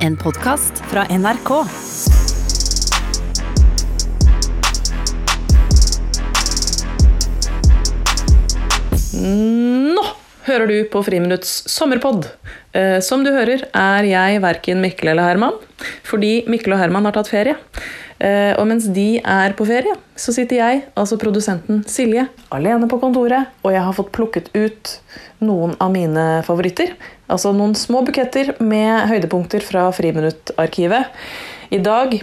En podkast fra NRK. Nå hører du på Friminutts sommerpod. Eh, som du hører, er jeg verken Mikkel eller Herman, fordi Mikkel og Herman har tatt ferie. Eh, og mens de er på ferie, så sitter jeg, altså produsenten Silje, alene på kontoret, og jeg har fått plukket ut noen av mine favoritter. Altså noen små buketter med høydepunkter fra Friminuttarkivet. I dag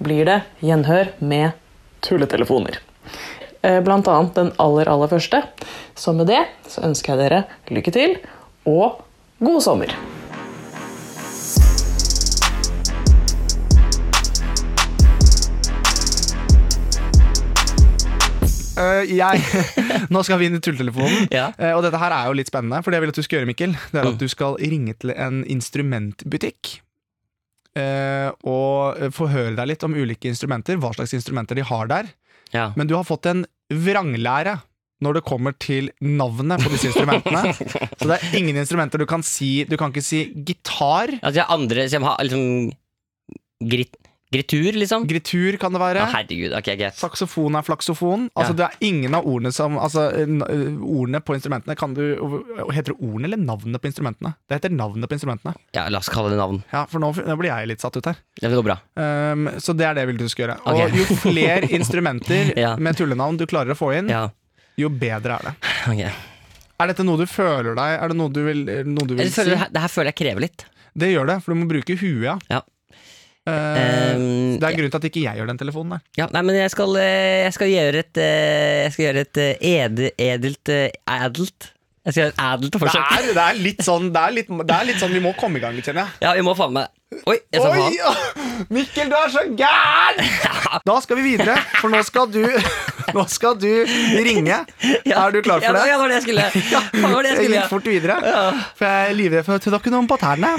blir det gjenhør med tulletelefoner. Eh, Blant annet den aller, aller første. Så med det så ønsker jeg dere lykke til, og god sommer! Eh, jeg, nå skal vi inn i tulltelefonen. Ja. Mm. Eh, og dette her er jo litt spennende, for det jeg vil at du skal gjøre, Mikkel, det er at du skal ringe til en instrumentbutikk. eh, og eh, forhøre deg litt om ulike instrumenter, hva slags instrumenter de har der. Ja. Men du har fått en vranglære når det kommer til navnet på disse instrumentene. Så det er ingen instrumenter du kan si. Du kan ikke si gitar. Altså, jeg har andre som har liksom grit, Gritur, liksom? Gritur kan det Ja, være. herregud, ok, greit. Saksofon er flaksofon. Altså, Det er ingen av ordene som altså, n- Ordene på instrumentene kan du Heter det ordene eller navnet på instrumentene? Det heter navnet på instrumentene. Ja, la oss kalle det navn. Ja, For nå, nå blir jeg litt satt ut her. Det går bra. Um, så det er det jeg vil du skal gjøre. Ok. Og jo flere instrumenter Ja. med tullenavn du klarer å få inn, Ja, jo bedre er det. ok. Er dette noe du føler deg Er det noe du vil, er det noe du vil Jeg si? føler, det her føler jeg krever litt. Det gjør det, for du må bruke huet. ja. Ja. Eh, Um, det er grunnen til at ikke jeg gjør den telefonen der. Ja, nei, men jeg skal, eh, jeg skal gjøre et eh, Jeg skal gjøre et eh, ede, edelt eh, Adelt Jeg skal gjøre et adelt Det forsøk. er, det, er litt sånn, det, er litt, det er litt sånn vi må komme i gang litt, kjenner jeg. Ja, vi må faen meg Oi, jeg sa Oi, faen. ja. Mikkel, du er så gæren! Da skal vi videre, for nå skal du, nå skal du ringe. Ja. Er du klar for Ja, det? Ja, det var det jeg skulle. Ja, det var det jeg Jeg skulle gikk ja. fort videre, for jeg er livredd for å tråkke noen på tærne.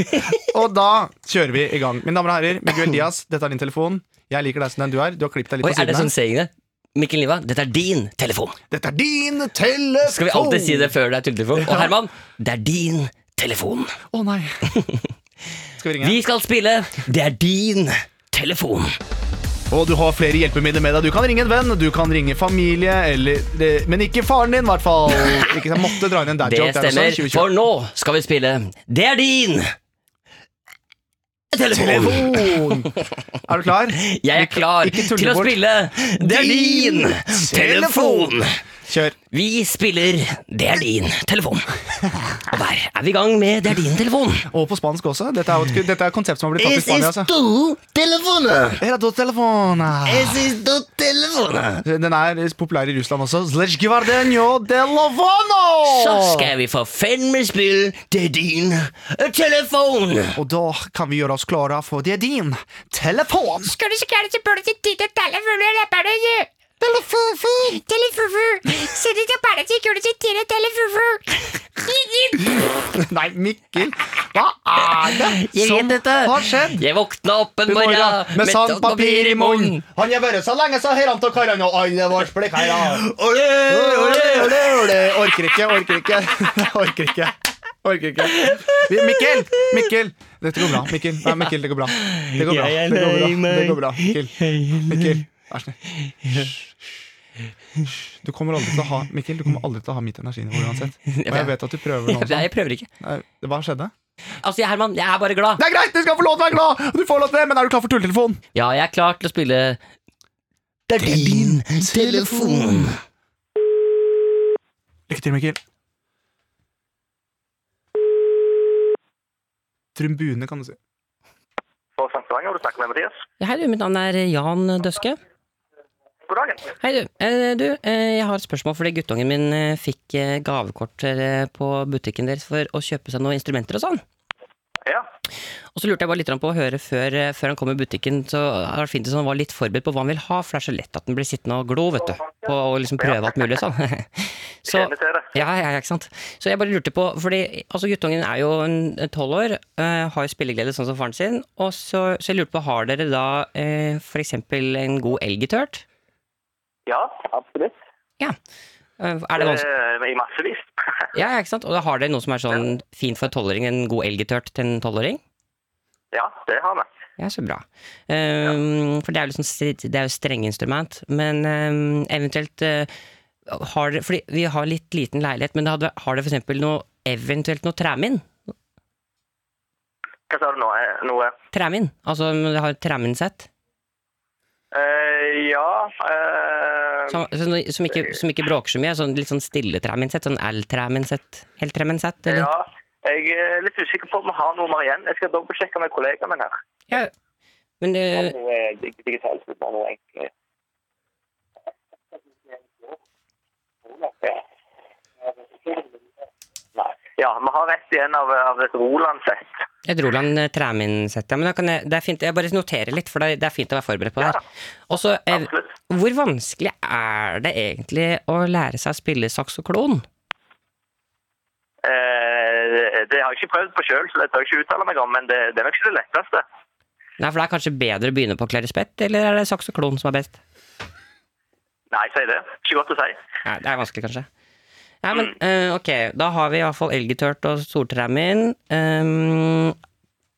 Og da kjører vi i gang. Mine damer og herrer, Miguel Diaz, dette er din telefon. Jeg liker deg sånn som den du er. Du har klippet deg litt Oi, på er det sånn sidene. saying det? Mikkel Niva, dette er din telefon. Dette er din telefon! Skal vi alltid si det før det er tulletelefon? Og Herman, det er din telefon. Å nei. Skal vi ringe? Vi skal spille Det er din telefon. Og du har flere hjelpemidler med deg. Du kan ringe en venn, du kan ringe familie, eller, det- men ikke faren din, i hvert fall. Ikke, jeg måtte dra inn en dad Det joke der også, stemmer, 2020. for nå skal vi spille Det er din telefon. Telefon! Er du klar? Jeg er klar Ikke tulle til å bort. spille Det er din telefon. Kjør. Vi spiller Det er din telefon. Og der er vi i gang med Det er din telefon. Og på spansk også. Dette er, jo et- dette er et konsept som har blitt tatt i Spania. Altså. Ah. tu telefone. Era dos telefoner. es tu telefone. Den er populær i Russland også. Zlech gvardenio telefono! Så skal vi for fandme spille Det er din eh, telefon. Og da kan vi gjøre oss klare, for det er din telefon. Skal du så gjerne tilbake til ditt telefon og leppene? Telefufu. Telefufu. Se ditt apparat til kule til dine telefufu. Nei, Mikkel, hva er det Jeg som vet dette. har skjedd? Jeg våkna opp en God morgen, morgen med sandpapir i munnen. Han har vært så lenge, så her han til karene, og alle var splikkheia. Olé, Ole, olé. ole, ole. Orker ikke, orker ikke. Orker ikke. Orker ikke. Vi- Mikkel! Mikkel! Dette går bra. Mikkel, Nei, Mikkel det går bra. Det går bra. Jeg er Det går bra. lei meg. Det går bra. Mikkel, Mikkel. vær snill. Hysj. Du kommer aldri til å ha Mikkel, du kommer aldri til å ha mitt energinivå uansett. Og jeg vet at du prøver nå. Nei, også. jeg prøver ikke. Nei, Hva skjedde? Altså, jeg- Herman, jeg er bare glad. Det er greit, du skal få lov til å være glad! Du får lov til det, men er du klar for tulletelefonen? Ja, jeg er klar til å spille Det er din telefon. Lykke til, Mikkel. Trumbune, kan du si. på Sankthansvang, og du snakker med Mathias. Ja, Hei, du. Mitt navn er Jan Døske. God dagen. Hei, du. Eh, du eh, jeg har et spørsmål fordi guttungen min eh, fikk eh, gavekort eh, på butikken deres for å kjøpe seg noen instrumenter og sånn. Ja. Og så lurte jeg bare litt på å høre før, eh, før han kom i butikken, så hadde det vært fint hvis han var litt forberedt på hva han vil ha, for det er så lett at han blir sittende og glo, vet du, på å liksom prøve alt mulig sånn. Så, Kjenner til det. ja, ja, ja, ikke sant. Så jeg bare lurte på, fordi altså, guttungen er jo en tolv år, eh, har jo spilleglede sånn som faren sin, og så, så jeg lurte på, har dere da eh, for eksempel en god elgitørt? Ja, absolutt. Ja. Eh, er det noen som... Eh, I massevis. Ja, ja, ikke sant? Og da har dere noe som er sånn fint for en tolvåring, en god elgitørt til en tolvåring? Ja, det har vi. Ja, så bra. Ehm, For det er jo liksom strid- det er jo strengeinstrument. Men ehm, eventuelt eh, har dere Fordi vi har litt liten leilighet, men det hadde, vært- har dere for eksempel noe Eventuelt noe tremin? Hva sa du nå? Eh, Noe? Tremin? Altså om dere har et treminsett? Eh, ja eh, Som, som, som, ikke, som ikke bråker så mye? Sånn, litt sånn stille treminsett? Sånn L-treminsett? Helt-treminsett? Eller? Ja. Jeg er litt usikker på om vi har noe mer igjen. Jeg skal dobbeltsjekke med kollegaen min her. Ja. Men eh, Om det, noe er dig- digitalt, så bare noe enkelt. Nei. Ja, vi har rett igjen av, av et Roland-sett. Jeg dro land Træmin-settet. Men da kan jeg, det er fint, jeg bare noterer litt, for det er- det er fint å være forberedt på det her. Og så, eh, absolutt. hvor vanskelig er det egentlig å lære seg å spille saksoklon? Eh, det har jeg ikke prøvd på sjøl, så det tør jeg ikke uttale meg om, men det, det er nok ikke det letteste. Nei, for det er kanskje bedre å begynne på klarispett, eller er det saksoklon som er best? Nei, si det. Ikke godt å si. Nei, det er vanskelig, kanskje. Nei, men eh, ok, da har vi i hvert fall elgitørt og soltræmin. Um,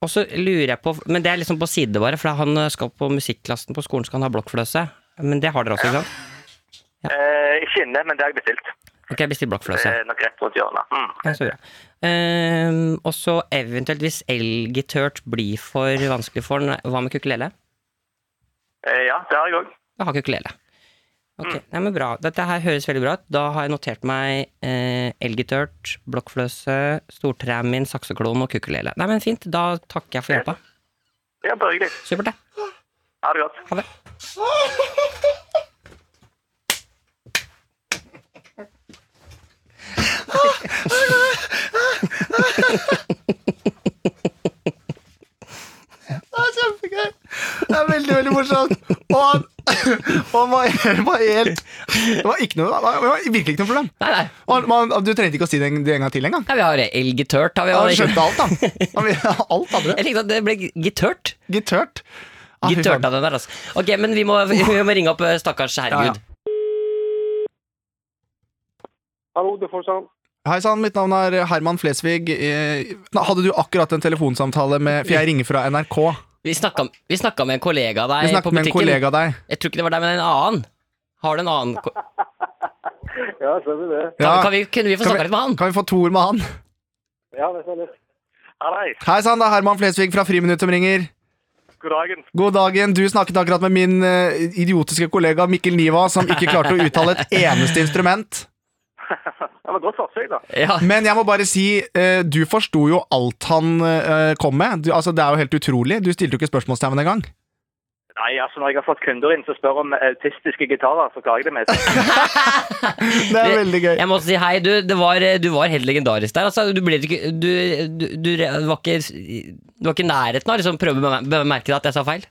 og så lurer jeg på, men det er liksom på side bare, for han skal på musikklassen på skolen, skal han ha blokkfløse. Men det har dere også, ikke sant? Eh, ikke inne, men det har jeg bestilt. Ok, bestill Det blokkfløse. er nok rett rundt hjørnet. Mm. Ja, så bra. Ehm, og så eventuelt, hvis elgitørt blir for vanskelig for den, hva med kukulele? Eh, ja, det har jeg òg. Jeg har kukulele. Ok, nei, men bra. Dette her høres veldig bra ut. Da har jeg notert meg eh, elgitørt, blokkfløse, stortremin, sakseklon og kukulele. Nei, men fint. Da takker jeg for hjelpa. Ja, bare hyggelig. Supert, det. Ha det godt. Ha det. Det er kjempegøy! Det er veldig, veldig morsomt. Og han, og han var, var helt Det var ikke noe, det var virkelig ikke noe problem. Nei, nei. Og han, man, du trengte ikke å si det en, det en gang til engang. nei vi har elgitørt. Har vi, Han jeg skjønte alt, han. han alt hadde det. likte at det ble gitørt. Gitørt. Ah, fy Gitørt faen. av den der, altså. Ok, men vi må, vi må ringe opp eh, stakkars Ja, ja. herregud. Hallo, du får sånn. Hei sann, mitt navn er Herman Flesvig. Eh, nå Hadde du akkurat en telefonsamtale med For jeg ringer fra NRK. Vi snakka, vi snakka med en kollega av Vi deg på snakket med en butikken. kollega av deg. Jeg tror ikke det var deg, men en annen. Har du en annen ko- kan, Ja, stemmer det. Ja, kan vi, Kunne vi få Kan snakka litt med han? Kan vi få to ord med han? Ja, det stemmer. Hei. Hei sann, det er Herman Flesvig fra Friminutt som ringer. God dagen. God dagen. Du snakket akkurat med min eh, idiotiske kollega Mikkel Niva, som ikke klarte å uttale et eneste instrument. Det var godt forsøk, da. Ja. Men jeg må bare si, eh, du forsto jo alt han eh, kom med. Du, altså, det er jo helt utrolig. Du stilte jo ikke spørsmålstegn engang. Nei, altså når jeg har fått kunder inn som spør om eh, autistiske gitarer, så klarer jeg det meste. Det er veldig gøy. Jeg må også si hei, du. Det var, eh, du var helt legendarisk der. Altså, du, ble ikke, du, du, du, re- var ikke Du var ikke i nærheten av å liksom, prøve å beme- bemerke deg at jeg sa feil.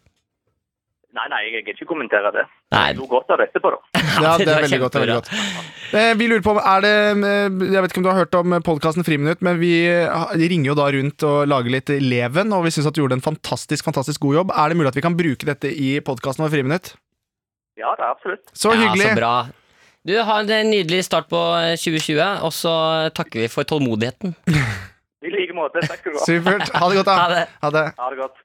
Nei, nei, jeg gidder ikke kommentere det. Nei. Jeg lo godt av det etterpå, da. Ja, det er var veldig godt. Det er veldig kjempebra. godt. Eh, Vi lurer på om er det eh, Jeg vet ikke om du har hørt om podkasten Friminutt, men vi eh, ringer jo da rundt og lager litt leven, og vi syns at du gjorde en fantastisk fantastisk god jobb. Er det mulig at vi kan bruke dette i podkasten vår Friminutt? Ja, det er absolutt. Så hyggelig. Ja, så bra. Du, ha en nydelig start på eh, 2020, og så takker vi for tålmodigheten. I like måte. Takk skal du ha. Supert. Ha det godt, da. Ha det. Ha det. Ha det godt.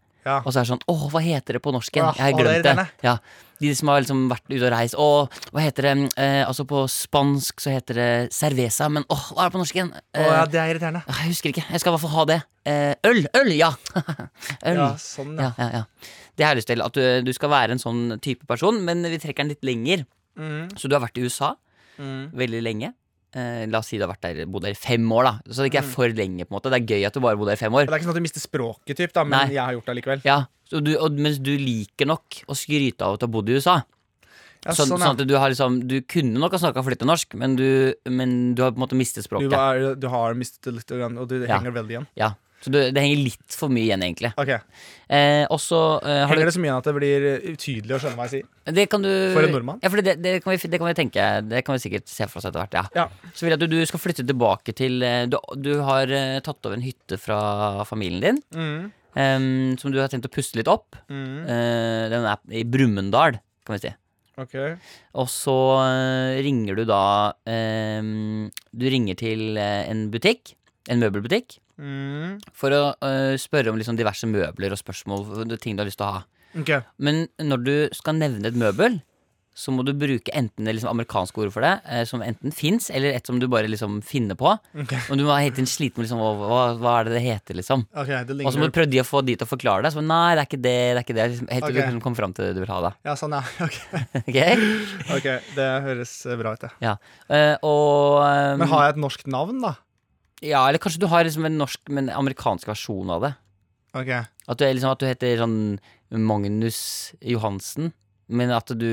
Ja. Og så er det sånn Å, hva heter det på norsk igjen? Ja, Jeg har å, det er glemt det. irriterende. Ja, de som har liksom vært ute og reist. Å, hva heter det? Eh, altså på spansk så heter det cerveza, men åh, hva er det på norsk igjen? Å, Eh, ja, det er irriterende. Jeg husker ikke. Jeg skal i hvert fall ha det. Eh, øl! Øl, ja! øl. Mm. Ja, sånn, ja. Ja, ja, ja. Det har jeg lyst til. At du, du skal være en sånn type person, men vi trekker den litt lenger. Mm. Så du har vært i USA veldig lenge. Eh, la oss si du har vært der, bodd der i fem år, da. Så det Mm. ikke er for lenge. på en måte Det er gøy at du bare bodde der i fem Det år. er ikke sånn at du mister språket, typ, da, men Nei. jeg har gjort det likevel. Ja, så du, og, Mens du liker nok å skryte av at du har bodd i USA. Ja, sånn, sånn, sånn at du har liksom Du kunne nok ha snakka flytende norsk, men du, men du har på en måte mistet ja. Du, språket. var, du har mistet det litt, grann, og du Ja. henger veldig igjen. Ja, Så du, det henger litt for mye igjen, egentlig. Ok, Eh, og så eh, har Henger du det så mye igjen at det blir utydelig å skjønne hva jeg sier? det kan du, For en nordmann? Ja, for det, det, kan vi, det kan vi tenke Det kan vi sikkert se for oss etter hvert. Ja. Ja. Så vil jeg at du, du skal flytte tilbake til eh, Du, du har eh, tatt over en hytte fra familien din. Mm. eh, som du har tenkt å pusse litt opp. Mm. Eh, den er i Brumunddal, kan vi si. Ok. Og så eh, ringer du da eh, Du ringer til eh, en butikk, en møbelbutikk, Mm. for å eh, spørre om liksom, diverse møbler og spørsmål, ting du har lyst til å ha. Ok. Men når du skal nevne et møbel, så må du bruke enten det liksom amerikanske ordet for det, eh, som enten fins, eller et som du bare liksom finner på. Ok. Og du må hele tiden slite med liksom, hva, hva- hva er det det heter, liksom. Ok, det Og så må ligner du prøve de å få de til å forklare deg. Så nei, det er ikke det, det er ikke det. Liksom, helt til Ok. du liksom kommer fram til det du vil ha, da. Ja, sånn, ja. Ok, Ok? Ok, Det høres eh, bra ut, det. Ja. Eh, og eh, Men har jeg et norsk navn, da? Ja, eller kanskje du har liksom en norsk, men amerikansk versjon av det. Ok. At du, er liksom, at du heter sånn Magnus Johansen, men at du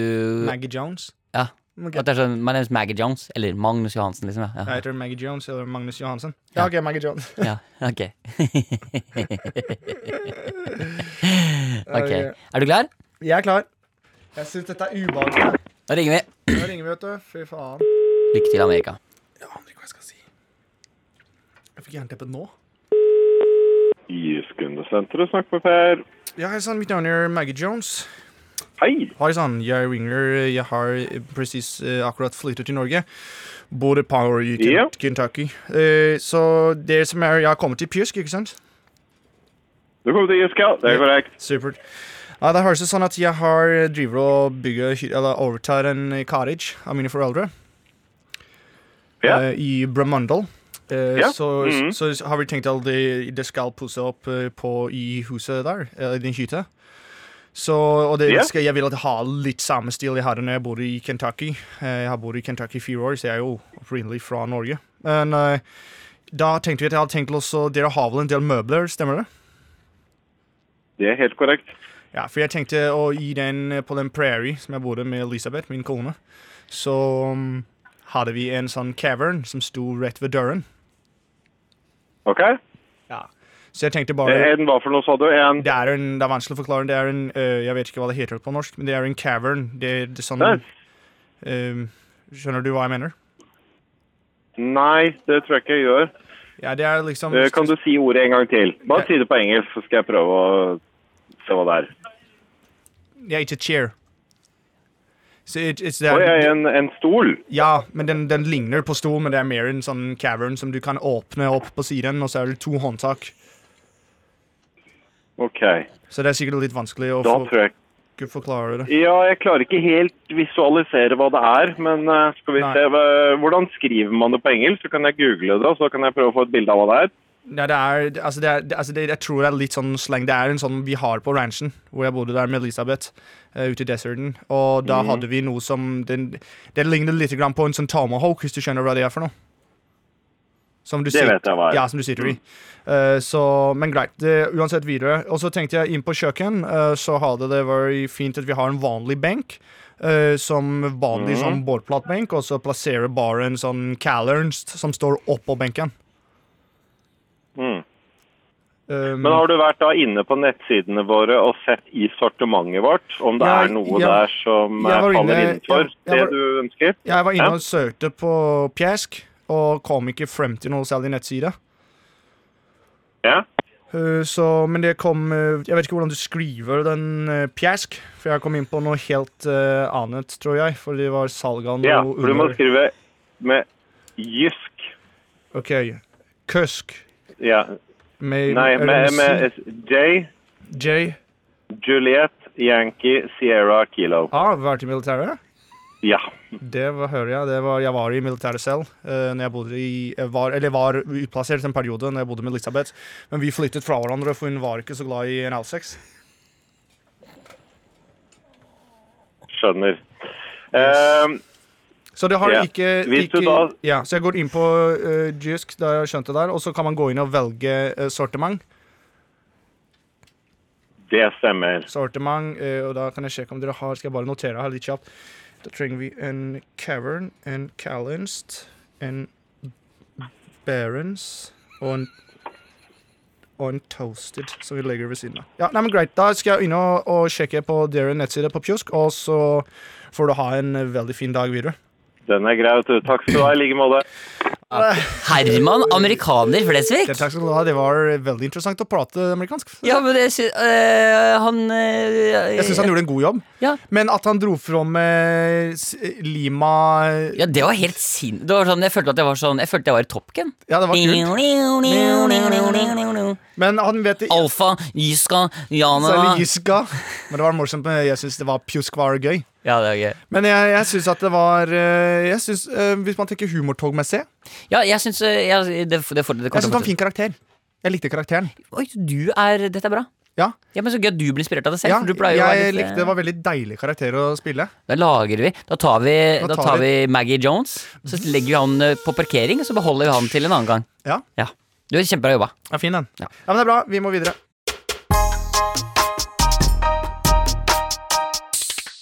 Maggie Jones? Ja. Ok. At det er sånn, My name is Maggie Jones. Eller Magnus Johansen, liksom. Ja. Jeg Ja. heter Maggie Jones eller Magnus Johansen. Ja, ok, Maggie Jones. Ja, ok. ok. Ok. Er du klar? Jeg er klar. Jeg syns dette er ubehagelig. Da ringer vi. Nå ringer vi, vet du. Fy faen. Lykke til, Amerika. Jeg aner ikke hva jeg skal si. Jeg fikk jernteppe nå. Iskunnesenteret, snakk med Per. Ja, hei sann, mitt navn er Maggie Jones. Hei! Hei sann, sånn, jeg ringer. Jeg har presis eh, akkurat flyttet til Norge. Bor i Power i Ken- Ja. Kentucky. Eh, så det som er Jeg har kommet til Pjusk, ikke sant? Du kom til ISK, det er korrekt. Supert. Ja, det høres ut sånn at jeg har driver og bygger, hy- eller overtar en eh, cottage av mine foreldre Ja. eh, i Brumundal. Eh, Ja. så, Mhm. så, har vi tenkt at det, det skal pusse opp eh, på i huset der, eller i den hytta. Så, og det Ja. skal, jeg vil at jeg har litt samme stil jeg hadde når jeg bodde i Kentucky. Eh, jeg har bodd i Kentucky i fire år, så jeg er jo opprinnelig fra Norge. Men eh, da tenkte vi at jeg hadde tenkt også, dere har vel en del møbler, stemmer det? Det er helt korrekt. Ja, for jeg tenkte å gi den eh, på den prairie som jeg bodde med Elisabeth, min kone. Så mm, hadde vi en sånn cavern som sto rett ved døren. Ok? Så jeg tenkte Det bare er en hva for noe, sa du? En det er, en, det er vanskelig å forklare. Det er en eh, Jeg vet ikke hva det heter på norsk, men det er en cavern. Det, det er sånn Nei. eh, Skjønner du hva jeg mener? Nei, det tror jeg ikke jeg gjør. Ja, det er liksom Eh, Kan du si ordet en gang til? Bare Ja. si det på engelsk, så skal jeg prøve å se hva det er. Ja, ikke chair. Så it, it's Oi, det er- en, en stol. ja, men den, den ligner på stol, men det er mer en sånn cavern som du kan åpne opp på siden, og så er det to håndtak. Ok, Så det er sikkert litt vanskelig å da for- tror jeg ikke forklare det. Ja, jeg klarer ikke helt visualisere hva det er, men eh, skal vi Nei. se hva- Hvordan skriver man det på engelsk? Så kan jeg google det, og så kan jeg prøve å få et bilde av hva det er. Nei, det er, det- altså det er, det- altså det, jeg tror det er litt sånn slang. Det er en sånn vi har på ranchen, hvor jeg bodde der med Elisabeth, eh, ute i deserten. Og da Mm. hadde vi noe som den, Det ligner litt grann på en sånn tomahawk, hvis du skjønner hva det er for noe. Som du Det vet jeg hva er. Mm. Ja, som du sitter i. Eh, så, men greit. Det, uansett videre. Og så tenkte jeg inn på kjøkken, eh, så hadde det vært fint at vi har en vanlig benk. eh, som vanlig Mm. sånn båtplatebenk, og så plasserer bare en sånn calernst som står oppå benken. Mm. Um, Men har du vært da inne på nettsidene våre og sett i sortimentet vårt om det Jeg- er jeg- noe der som jeg eh, var faller inne- innenfor jeg- jeg var- det du ønsker? Jeg var inne Ja. og søkte på Pjesk, og kom ikke frem til noe særlig nettside. Ja. Eh, Så, men det kom eh, Jeg vet ikke hvordan du skriver den eh, Pjesk, for jeg kom inn på noe helt eh, annet, tror jeg. For det var salg av noe ja, for du må under- skrive med jysk. OK. Køsk Ja. med, Nei, eller med, med C- S- J. J. Juliet Yankee Sierra Kilo. Ah, vært i militæret? Ja. Det var, hører jeg. Det var, jeg var i militæret selv. eh, når jeg bodde i, jeg var, eller var utplassert en periode når jeg bodde med Elisabeth. Men vi flyttet fra hverandre, for hun var ikke så glad i en L6. Skjønner. Ehm, Så det har Ja. ikke, Hvis du ikke da- ja, Så jeg går inn på uh, Jysk, da jeg skjønte der, og så kan man gå inn og velge eh, sortiment. det stemmer. Sortiment, eh, og da kan jeg sjekke om dere har Skal jeg bare notere her litt kjapt. Da trenger vi en cavern, en calenst, en barons og en untoasted, som vi legger ved siden av. Ja, nei, men greit. Da skal jeg inn og, og sjekke på deres nettside på Pjusk, og så får du ha en eh, veldig fin dag videre. Den er grei, vet du. Takk skal du ha i like måte. Herman amerikaner Flesvig? Det, takk skal du ha. Det var eh, veldig interessant å prate amerikansk. Ja, men jeg syns øh, Han øh, Jeg syns han gjorde en god jobb. Ja. Men at han dro fram eh, s- Lima Ja, det var helt sin... Det var sånn, jeg følte at jeg var sånn Jeg følte jeg var i Top Gun. Ja, det var kult. Men han vet det Alfa, Jyska, Jana Særlig Jyska. Men det var morsomt. men Jeg syns det var pjusk var gøy. Ja, det er gøy. Men jeg, jeg syns at det var eh, Jeg synes, eh, Hvis man tenker humortogmessig, Ja, jeg syns øh, jeg- det, det, får- jeg syns det det var kommer en fin karakter. Jeg likte karakteren. Oi, så du er Dette er bra. Ja. ja, men Så gøy at du blir inspirert av det selv. Ja, for du pleier jo å være jeg litt, eh, likte Det var veldig deilig karakter å spille. Da lager vi Da tar vi, da tar vi Maggie Jones. Så legger vi han eh, på parkering, og så beholder vi han til en annen gang. Ja. Du har kjempebra jobba. Ja, fin den. Ja. Ja. men det er bra. Vi må videre.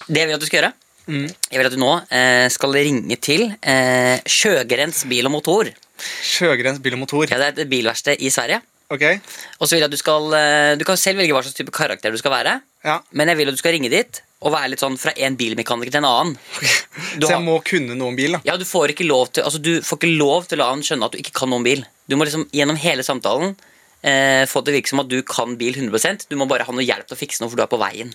Det jeg vil at du skal gjøre Mm. Jeg vil at du nå eh, skal ringe til eh, Sjøgrens bil og motor. Sjøgrens bil og motor. Ja, det er et bilverksted i Sverige. Ok. Og så vil jeg at Du skal eh, Du kan selv velge hva slags type karakter du skal være, Ja. men jeg vil at du skal ringe dit og være litt sånn fra en bilmekaniker til en annen. Du har, må kunne noe om bil, da. ja, du, får ikke lov til, altså, du får ikke lov til å la han skjønne at du ikke kan noe om bil. Du må liksom gjennom hele samtalen eh, få det til å virke som at du kan bil 100 Du må bare ha noe hjelp til å fikse noe, for du er på veien.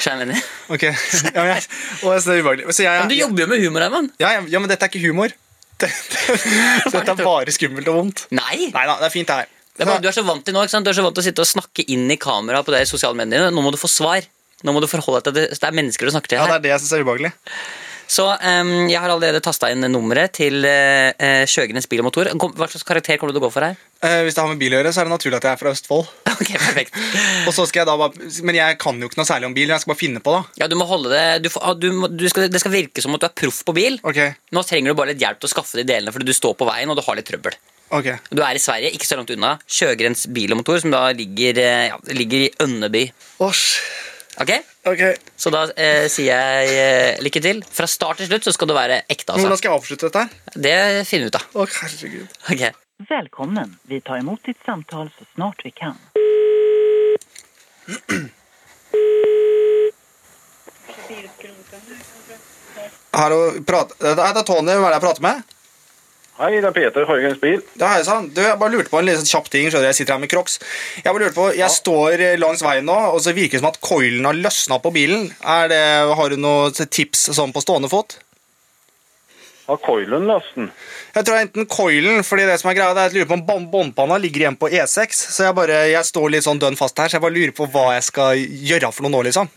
Skjønner jeg mener? Ok. Ja, men jeg, å, jeg synes det er ubehagelig. Så jeg, Men du jobber jo med humor, Herman. ja, ja, ja, men dette er ikke humor. Så dette er bare skummelt og vondt. Nei! Nei da, det er fint, det her. Det er bare, du er så vant til nå, ikke sant? Du er så vant til å sitte og snakke inn i kamera på de sosiale mediene. Nå må du få svar. Nå må du forholde deg til at det, det er mennesker du snakker til Ja, det her. er det jeg syns er ubehagelig. Så em, jeg har allerede tasta inn nummeret til eh, eh, Sjøgrens bil og motor. Kom, hva slags karakter kommer du til å gå for her? Eh, hvis det har med bil å gjøre, så er det naturlig at jeg er fra Østfold. Ok, perfekt. Og så skal jeg da bare, Men jeg kan jo ikke noe særlig om bil. Jeg skal bare finne på, da. Ja, du må holde det du, får- ah, du, må- du skal, Det skal virke som at du er proff på bil. Ok, Nå trenger du bare litt hjelp til å skaffe de delene, fordi du står på veien og du har litt trøbbel. ok. Du er i Sverige, ikke så langt unna. Sjøgrens bil og motor, som da ligger, eh, ja, ligger i Ønneby. Åsj. Ok? Ok, Så da eh, sier jeg eh, lykke til. Fra start til slutt så skal du være ekte. Hvordan Altså. skal jeg avslutte dette? her? Det finner vi ut av. Å, herregud. Ok. Välkommen. Vi tar emot ditt samtal så snart vi kan. Hallo, prat... Det er det er Tony. Hva er det jeg prater med? Hei, det er Peter Høygens bil. Det er sant. Du, jeg bare lurte på en liten kjapp ting. skjønner du, Jeg sitter her med Crocs. Jeg bare lurte på, jeg står eh, langs veien nå, og så virker det som at coilen har løsna på bilen. Er det, har du noen tips sånn på stående fot? Har coilen løsten? Jeg tror det er enten coilen, fordi det som er greia, det er at jeg lurer på om bånd- båndpanna ligger igjen på E6. Så jeg bare, jeg står litt sånn dønn fast her, så jeg bare lurer på hva jeg skal gjøre for noe nå, liksom.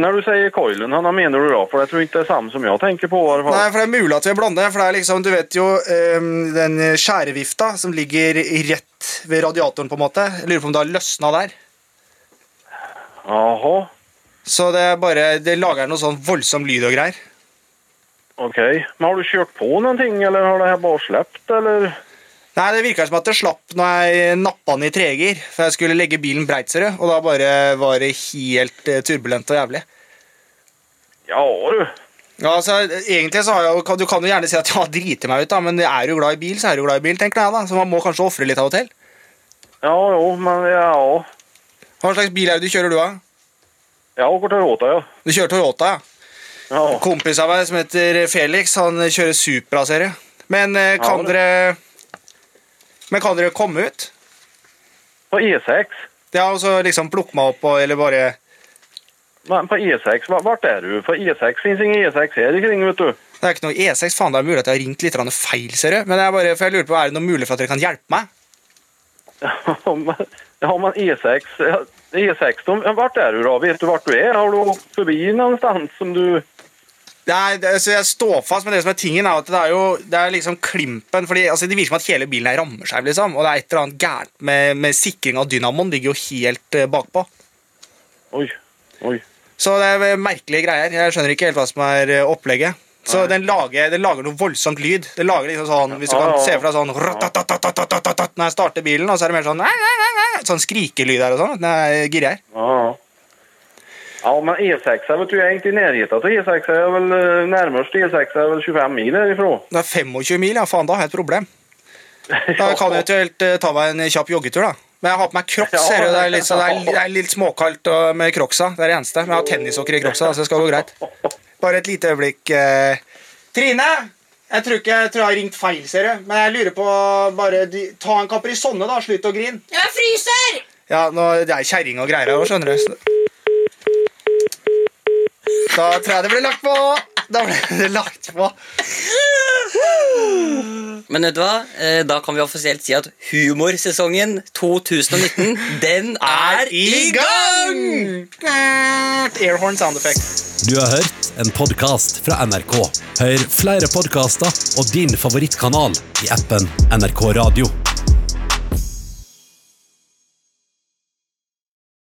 Når du sier coilen, da mener du da? For jeg tror ikke det er samme som jeg tenker på. i hvert fall. Nei, for det er mulig at vi er blonde, for det er liksom, du vet jo, ehm, den skjærevifta som ligger rett ved radiatoren på en måte. Jeg lurer på om det har løsna der. Jaha, Så det er bare, det lager noe sånn voldsom lyd og greier. ok. Men har du kjørt på noen ting, eller har det her bare slept, eller? Nei, det virka som at det slapp når jeg nappa den i treger, for jeg skulle legge bilen Breitserød, og da bare var det helt eh, turbulent og jævlig. Ja, du. Ja, altså, egentlig så har jeg, jo- Du kan jo gjerne si at jeg har driti meg ut, da, men er du glad i bil, så er du glad i bil, tenker jeg da. Så man må kanskje ofre litt av og til. Ja, jo, men ja, ja. Hva slags bil er det du kjører du, da? Ja, hvor til råta, ja. Du kjører Toyota, ja. Ja, Kompis av meg som heter Felix, han kjører Supra-serie. Men eh, Ja, kan det- dere Men kan dere komme ut? på E E6. Det er altså liksom plukke meg opp og eller bare Men på E E6, hva- hvert er du? For E6 finnes ingen E E6 her ikring, vet du. Det er ikke noe E6. Faen, det er mulig at jeg har ringt litt grann feil, ser du. Men jeg bare, for jeg lurer på, er det noe mulig for at dere kan hjelpe meg? Ja, men- Ja, men E6, ja, E E6, de, ja, hvert er du da? Vet du hvert du er? Har du forbi någonstans som du... Nei, det, altså jeg står fast, men det som er tingen er at det er jo det er liksom klimpen fordi altså Det virker som at hele bilen her rammer seg, liksom. Og det er et eller annet gærent med, med sikring av dynamoen. Ligger jo helt eh, bakpå. Oj, oj. Så det er eh, merkelige greier. Jeg skjønner ikke helt hva som er eh, opplegget. Så den lager, den lager noe voldsomt lyd. Den lager liksom sånn, Hvis du Ja, ja, kan ja. se for deg sånn ratatatatatatatat når jeg starter bilen, og så er det mer sånn "Nei, nei, nei, nei", Sånn skrikelyd her og sånn. Når jeg girer her. Ja. Ja, men E6, vet du, jeg er ikke i nærheten av E E6. Jeg er vel E eh, nærmest E6, jeg er vel 25 mil herifrån. Det er 25 mil, ja. Faen, da har jeg et problem. Da kan jeg eventuelt eh, ta meg en kjapp joggetur, da. Men jeg har på meg crocs. Ja. ser du, det, er litt, så det, er, det er litt småkaldt og, med crocsa. Det er det eneste. Men jeg har tennissokker i crocsa, da, så det skal gå greit. Bare et lite øyeblikk. eh. Trine! Jeg tror ikke jeg tror jeg har ringt feil, ser du. Men jeg lurer på bare de- Ta en Caprisonne, da. Slutt å grine. Jeg fryser! Ja, nå, det er kjerring og greier her også, skjønner du. Så- Da tror jeg det ble lagt på. Da ble det lagt på. Men vet du hva? Eh, Da kan vi offisielt si at humorsesongen 2019, den er i gang! Airhorn sound effect. Du har hørt en podkast fra NRK. Hør flere podkaster og din favorittkanal i appen NRK Radio.